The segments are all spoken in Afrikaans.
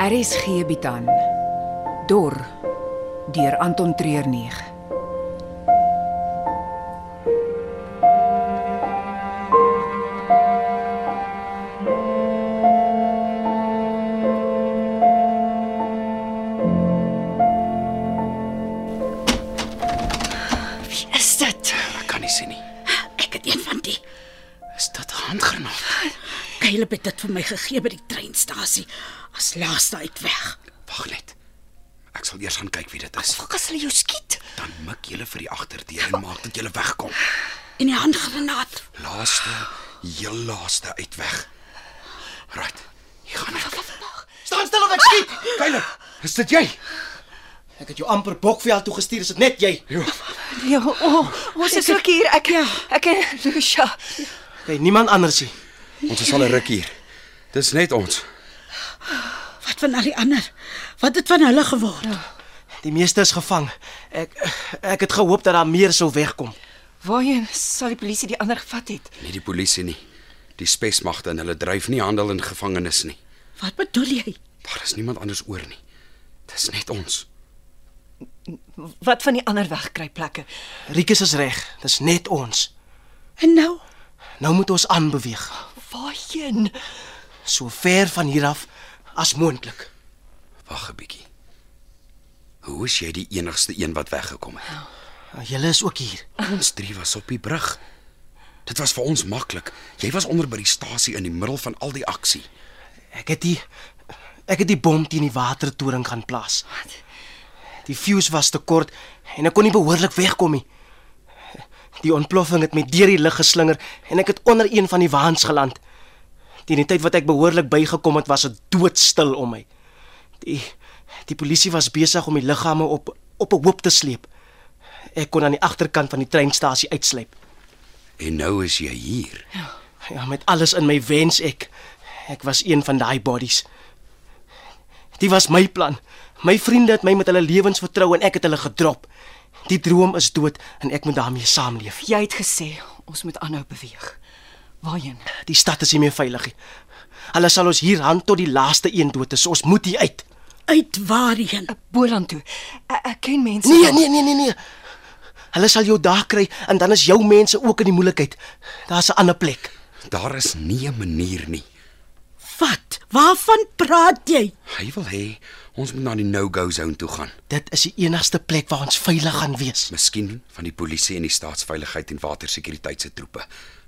RSG bied aan Dor deur Anton Treuer 9. Wie is dit? Ek kan nie sien nie. Ek het een van die Is dit 'n handgranaat? Caleb het dit vir my gegee by die treinstasie as laaste uitweg. Wag net. Ek sal eers gaan kyk wie dit is. Fokus hulle jou skiet Dan mik julle vir die agterdeur en maak dat julle wegkom. en die handgranaat. Laaste, heel laaste uitweg. Right. Hier gaan ek. Staan stil of ek skiet. Kyler, is dit jy? Ek het jou amper Bokveld toe gestuur, is dit net jy? Ja, o, oh, ons is ook hier. Ek ja. ek en Lucia. Kyk, niemand anders nie. Ons is al 'n ruk hier. Dis net ons. Wat van al die ander? Wat het van hulle geword? Die meeste is gevang. Ek ek het gehoop dat daar meer sou wegkom. Waarheen sal die polisie die ander gevat het? Nie die polisie nie. Die spesmagte en hulle dryf nie handel in gevangenes nie. Wat bedoel jy? Daar is niemand anders oor nie. Dis net ons. Wat van die ander wegkruipplekke? Rikus is reg. Dis net ons. En nou? Nou moet ons aanbeweeg, Waarheen? so ver van hier af as moontlik. Wag 'n bietjie. Hoe is jy die enigste een wat weggekom het? Julle is ook hier. Oh. Ons drie was op die brug. Dit was vir ons maklik. Jy was onder by die stasie in die middel van al die aksie. Ek het die ek het die bom teen die watertoring gaan plaas. Wat? Die fuse was te kort en ek kon nie behoorlik wegkom nie. Die ontploffing het my deur die lug geslinger en ek het onder een van die waans geland. Teen die tyd wat ek behoorlik bygekom het, was dit doodstil om my. Die die polisie was besig om die liggame op op 'n hoop te sleep. Ek kon aan die agterkant van die treinstasie uitsleep. En nou is jy hier. Ja, met alles in my wens ek ek was een van daai bodies. Dit was my plan. My vriende het my met hulle lewens vertrou en ek het hulle gedrop. Die droom is dood en ek moet daarmee saamleef. Jy het gesê ons moet aanhou beweeg. Waarheen? Die stad is nie meer veilig nie. Hulle sal ons hier hand tot die laaste een dood is. Ons moet hier uit. Uit waarheen? Eh, Boland toe. Ek, ek ken mense. Nee, nee, nee, nee, nee. Hulle sal jou daar kry en dan is jou mense ook in die moeilikheid. Daar's 'n ander plek. Daar is nie 'n manier nie. Wat? Waarvan praat jy? Hy wil hê ons moet na die no-go zone toe gaan. Dit is die enigste plek waar ons veilig gaan wees. Miskien van die polisie en die staatsveiligheid en watersekuriteit se troepe.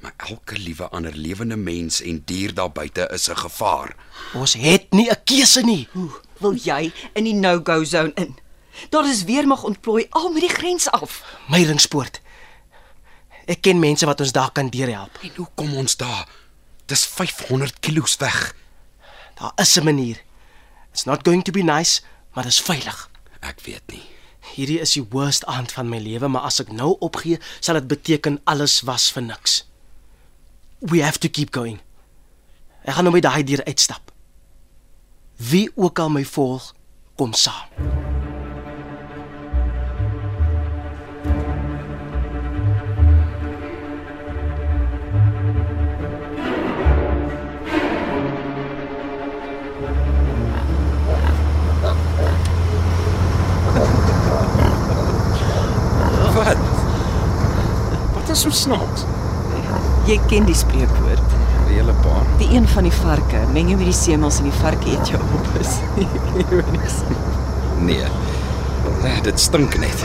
Maar elke liewe ander lewende mens en dier daar buite is 'n gevaar. Ons het nie 'n keuse nie. Wil jy in die no-go zone in? Daar is weermag ontplooi al met die grens af. Meyringspoort. Ek ken mense wat ons daar kan deurhelp. En hoe kom ons daar? Dis 500 kilos weg. Daar is 'n manier. It's not going to be nice, maar dit is veilig. Ek weet nie. Hierdie is die worst aand van my lewe, maar as ek nou opgee, sal dit beteken alles was vir niks. We have to keep going. Ek gaan nou by daai deur uitstap. Wie ook al my volg, kom saam. Wat? Wat is so snaaks? Jy ken die spreekwoord. 'n Hele paar. Die een van die varke, meng jou met die seemels en die varke eet jou op. Is. Nee. Eh, Dit stink net.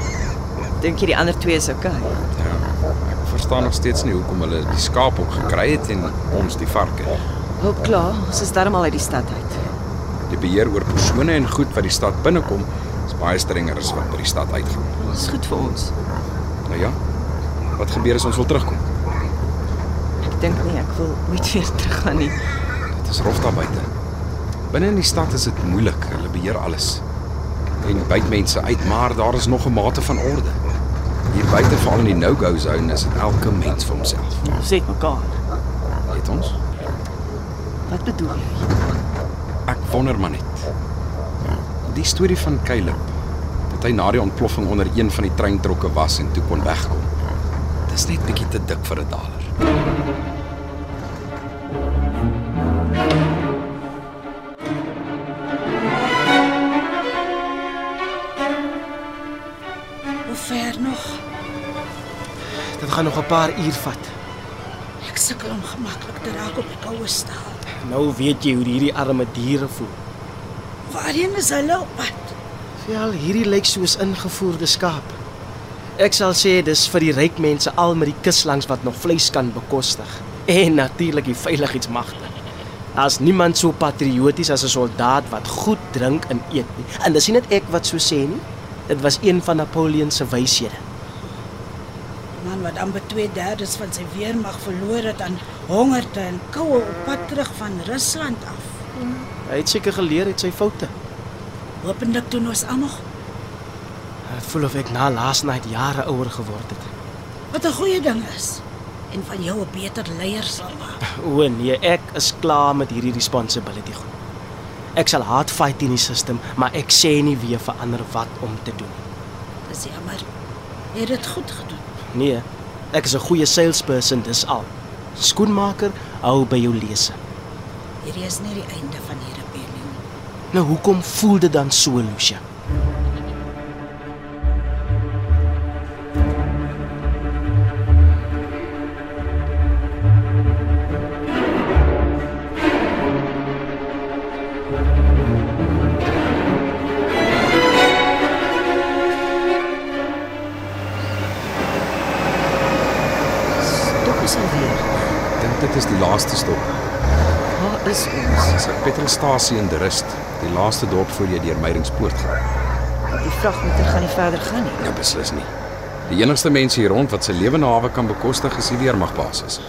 Dink jy die ander twee is okay? Ja. Ek verstaan nog steeds nie hoekom hulle die skaap ook gekry het en ons die varke. Hoop klaar, ons is darmal uit die stad uit. Die beheer oor persone en goed wat die stad binnekom is baie strenger as wat by die stad uitgaan. Dis goed vir ons. Nou ja. Wat gebeur as ons wil terugkom? Ek dink nie ek wil ooit weer teruggaan nie. Dit is rof daar buite. Binne in die stad is dit moeilik. Hulle beheer alles. En byt mense uit, maar daar is nog 'n mate van orde. Hier buite, veral in die no-go zone, is dit elke mens vir homself. Ons het mekaar. Weet ons? Wat bedoel jy? Ek wonder maar net. Die storie van Caleb dat hy na die ontploffing onder een van die treintrokke was en toe kon wegkom. Dis net bietjie te dik vir 'n daler. Dit gaan nog 'n paar uur vat. Ek sukkel om gemaklik te raak op die koue staal. Nou weet jy hoe hierdie arme diere voel. Waarheen is hulle op pad? Wel, hierdie lyk soos ingevoerde skaap. Ek sal sê dis vir die ryk mense al met die kus langs wat nog vleis kan bekostig en natuurlik die veiligheidsmagte. As niemand so patrioties as 'n soldaat wat goed drink en eet nie. En dis nie net ek wat so sê nie. Dit was een van Napoleon se wyshede. Man wat amper 2/3 van sy weermag verloor het aan hongerte en koue op pad terug van Rusland af. Hy het seker geleer uit sy foute. Hopelik doen ons almal Dit voel of ek na laas nag jare ouer geword het. wat 'n goeie ding is en van jou 'n beter leier sal maak. O nee, ek is klaar met hierdie responsibility goed. Ek sal hard fight in die system, maar ek sê nie weer vir ander wat om te doen nie. Dis jammer. Jy het dit goed gedoen. Nee, ek is 'n goeie salesperson, dis al. Skoenmaker, hou by jou lese. Hierdie is nie die einde van hierdie rebellie nie. Nou hoekom voel dit dan so, Lucia? Tog is alweer. Ek dink dit is die laaste stop. Waar is ons? Dis 'n petrolstasie in Derust, die laaste dorp voor jy deur Meyringspoort gaan. Die vragmotor gaan nie verder gaan nie. Nou beslis nie. Die enigste mense hier rond wat sy lewenawe kan bekostig is die weermagbasis.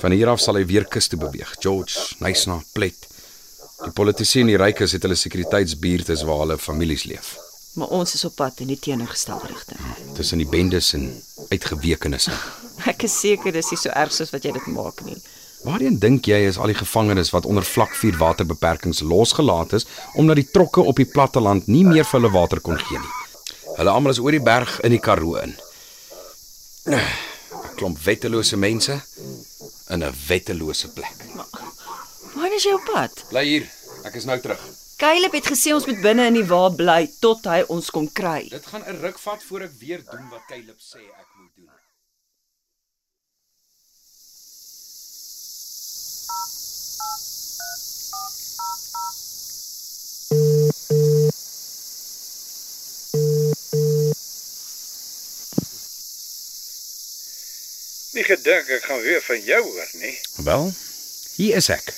Van hier af sal hy weer kus toe beweeg. George, Nysna, Plet. Die politici en die rykes het hulle sekuriteitsbuurte waar hulle families leef. Maar ons is op pad in die teenoorgestelde rigting. Tussen die bendes en uitgewekenes. Ek is seker dis nie so erg soos wat jy dit maak nie. Waarheen dink jy is al die gevangenes wat onder vlak 4 waterbeperkings losgelaat is omdat die trokke op die platteland nie meer vir hulle water kon gee nie. Hulle almal is oor die berg in die Karoo in. 'n Klomp wettelose mense in 'n wettelose plek. Waar is jy op pad? Bly hier. Ek is nou terug. Caleb het gesê ons moet binne in die wa bly tot hy ons kom kry. Dit gaan 'n ruk vat voor ek weer doen wat Caleb sê ek moet doen. Nie gedink ek gaan weer van jou hoor nie. Wel, hier is ek.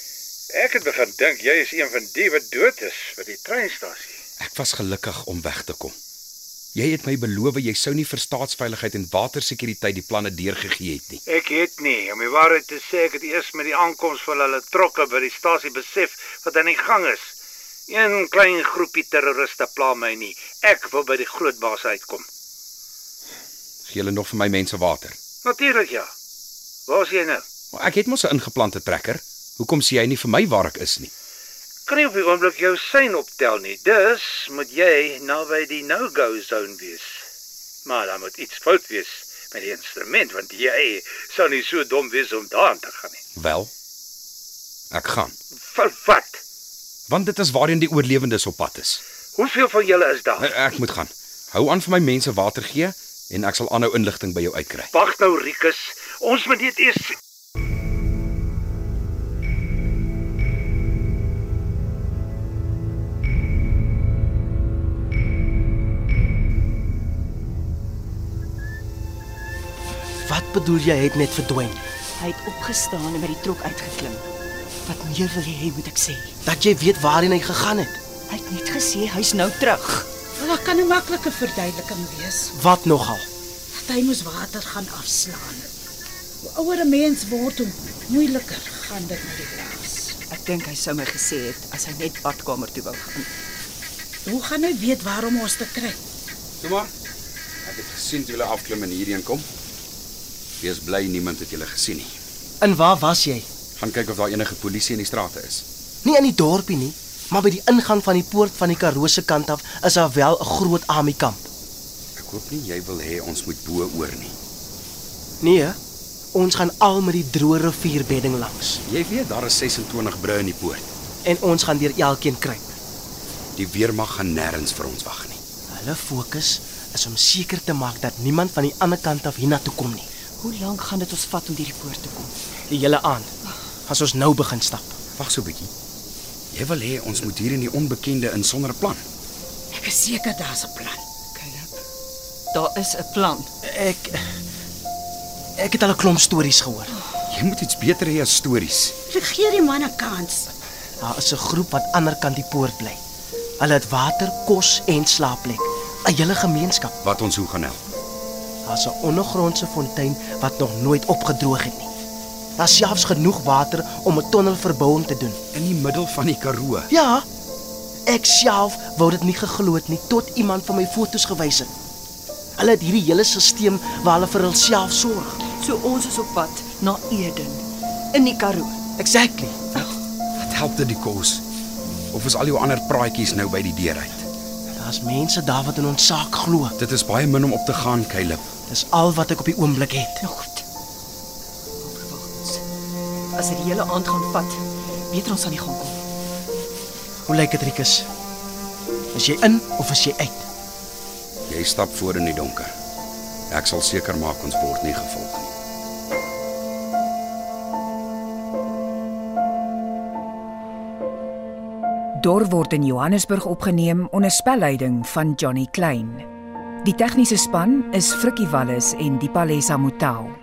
Ek het begin dink jy is een van die wat dood is by die treinstasie. Ek was gelukkig om weg te kom. Jy het my beloof jy sou nie vir staatsveiligheid en watersekuriteit die planne deurgegee het nie. Ek het nie, om die waarheid te sê, ek het eers met die aankoms van hulle trokke by die stasie besef wat aan die gang is. Een klein groepie terroriste pla my nie. Ek wil by die groot baas uitkom. Gee hulle nog vir my mense water. Natuurlik ja. Waar is jy nou? Maar ek het mos 'n ingeplante trekker. Hoekom sê jy nie vir my waar ek is nie? Kan nie op die oomblik jou sein optel nie. Dus moet jy naby die no-go zone wees. Maar daar moet iets fout wees met die instrument want jy sou nie so dom wees om daaraan te gaan nie. Wel. Ek gaan, Vir wat? want dit is waarheen die oorlewendes op pad is. Hoeveel van julle is daar? E- Ek moet gaan. Hou aan vir my mense water gee en ek sal aanhou inligting by jou uitkry. Wag nou Rikus, ons moet net eers Wat bedoel jy hy het net verdwyn? Hy het opgestaan en by die trok uitgeklim. Wat meer wil hy hê moet ek sê? Dat jy weet waarheen hy gegaan het. Hy het net gesê hy's nou terug. Maar daar kan 'n maklike verduideliking wees. Wat nogal? dat hy moes water gaan afslaan. Hoe ouer 'n mens word, hoe moeiliker gaan dit met die plaas. Ek dink hy sou my gesê het as hy net badkamer toe wou gaan. Hoe gaan hy weet waarom ons te kry? Toe maar. Ek het gesien jy wil afklim en hierheen kom. Wees bly niemand het julle gesien nie. En waar was jy? Gaan kyk of daar enige polisie in die strate is. Nie in die dorpie nie, maar by die ingang van die poort van die Karoo se kant af is daar wel 'n groot army kamp. Ek hoop nie jy wil hê ons moet bo oor nie. Nee, hè? ons gaan al met die droë rivierbedding langs Jy weet daar is 26 brûe in die poort. en ons gaan deur elkeen kruip. Die weermag gaan nêrens vir ons wag nie. Hulle fokus is om seker te maak dat niemand van die ander kant af hiernatoe kom nie. Hoe lank gaan dit ons vat om deur die poort te kom? Die hele aand. As ons nou begin stap. Wag so 'n bietjie. Jy wil hê ons moet hier in die onbekende in sonder 'n plan. Ek is seker daar's 'n plan. Caleb, daar is 'n plan. Ek ek het al 'n klomp stories gehoor. Jy moet iets beter hê as stories. Ek gee die man 'n kans. Daar is 'n groep wat ander kant die poort bly. Hulle het water, kos en slaapplek. 'n Hele gemeenskap. Wat ons hoe gaan help. Daar's 'n ondergrondse fontein wat nog nooit opgedroog het nie. Daar's selfs genoeg water om 'n tonnel verbouing te doen. In die middel van die Karoo. Ja. Ek self wou dit nie geglo het nie tot iemand van my foto's gewys het. Hulle het hierdie hele stelsel waar hulle vir hulself sorg. So ons is op pad na Eden in die Karoo. Exactly. Wat help dit die kos? Of is al jou ander praatjies nou by die deur uit? Daar's mense daar wat in ons saak glo. Dit is baie min om op te gaan, Caleb. Dis al wat ek op die oomblik het. Nou goed. Ons. As dit die hele aand gaan vat, beter ons aan die gang kom. Hoe lyk dit, Rikus? Is jy in of is jy uit? Jy stap voor in die donker. Ek sal seker maak ons word nie gevolg nie. Dor word in Johannesburg opgeneem onder spelleiding van Johnny Klein. Die tegniese span is Frikkie Wallis en Dipalesa Motelo.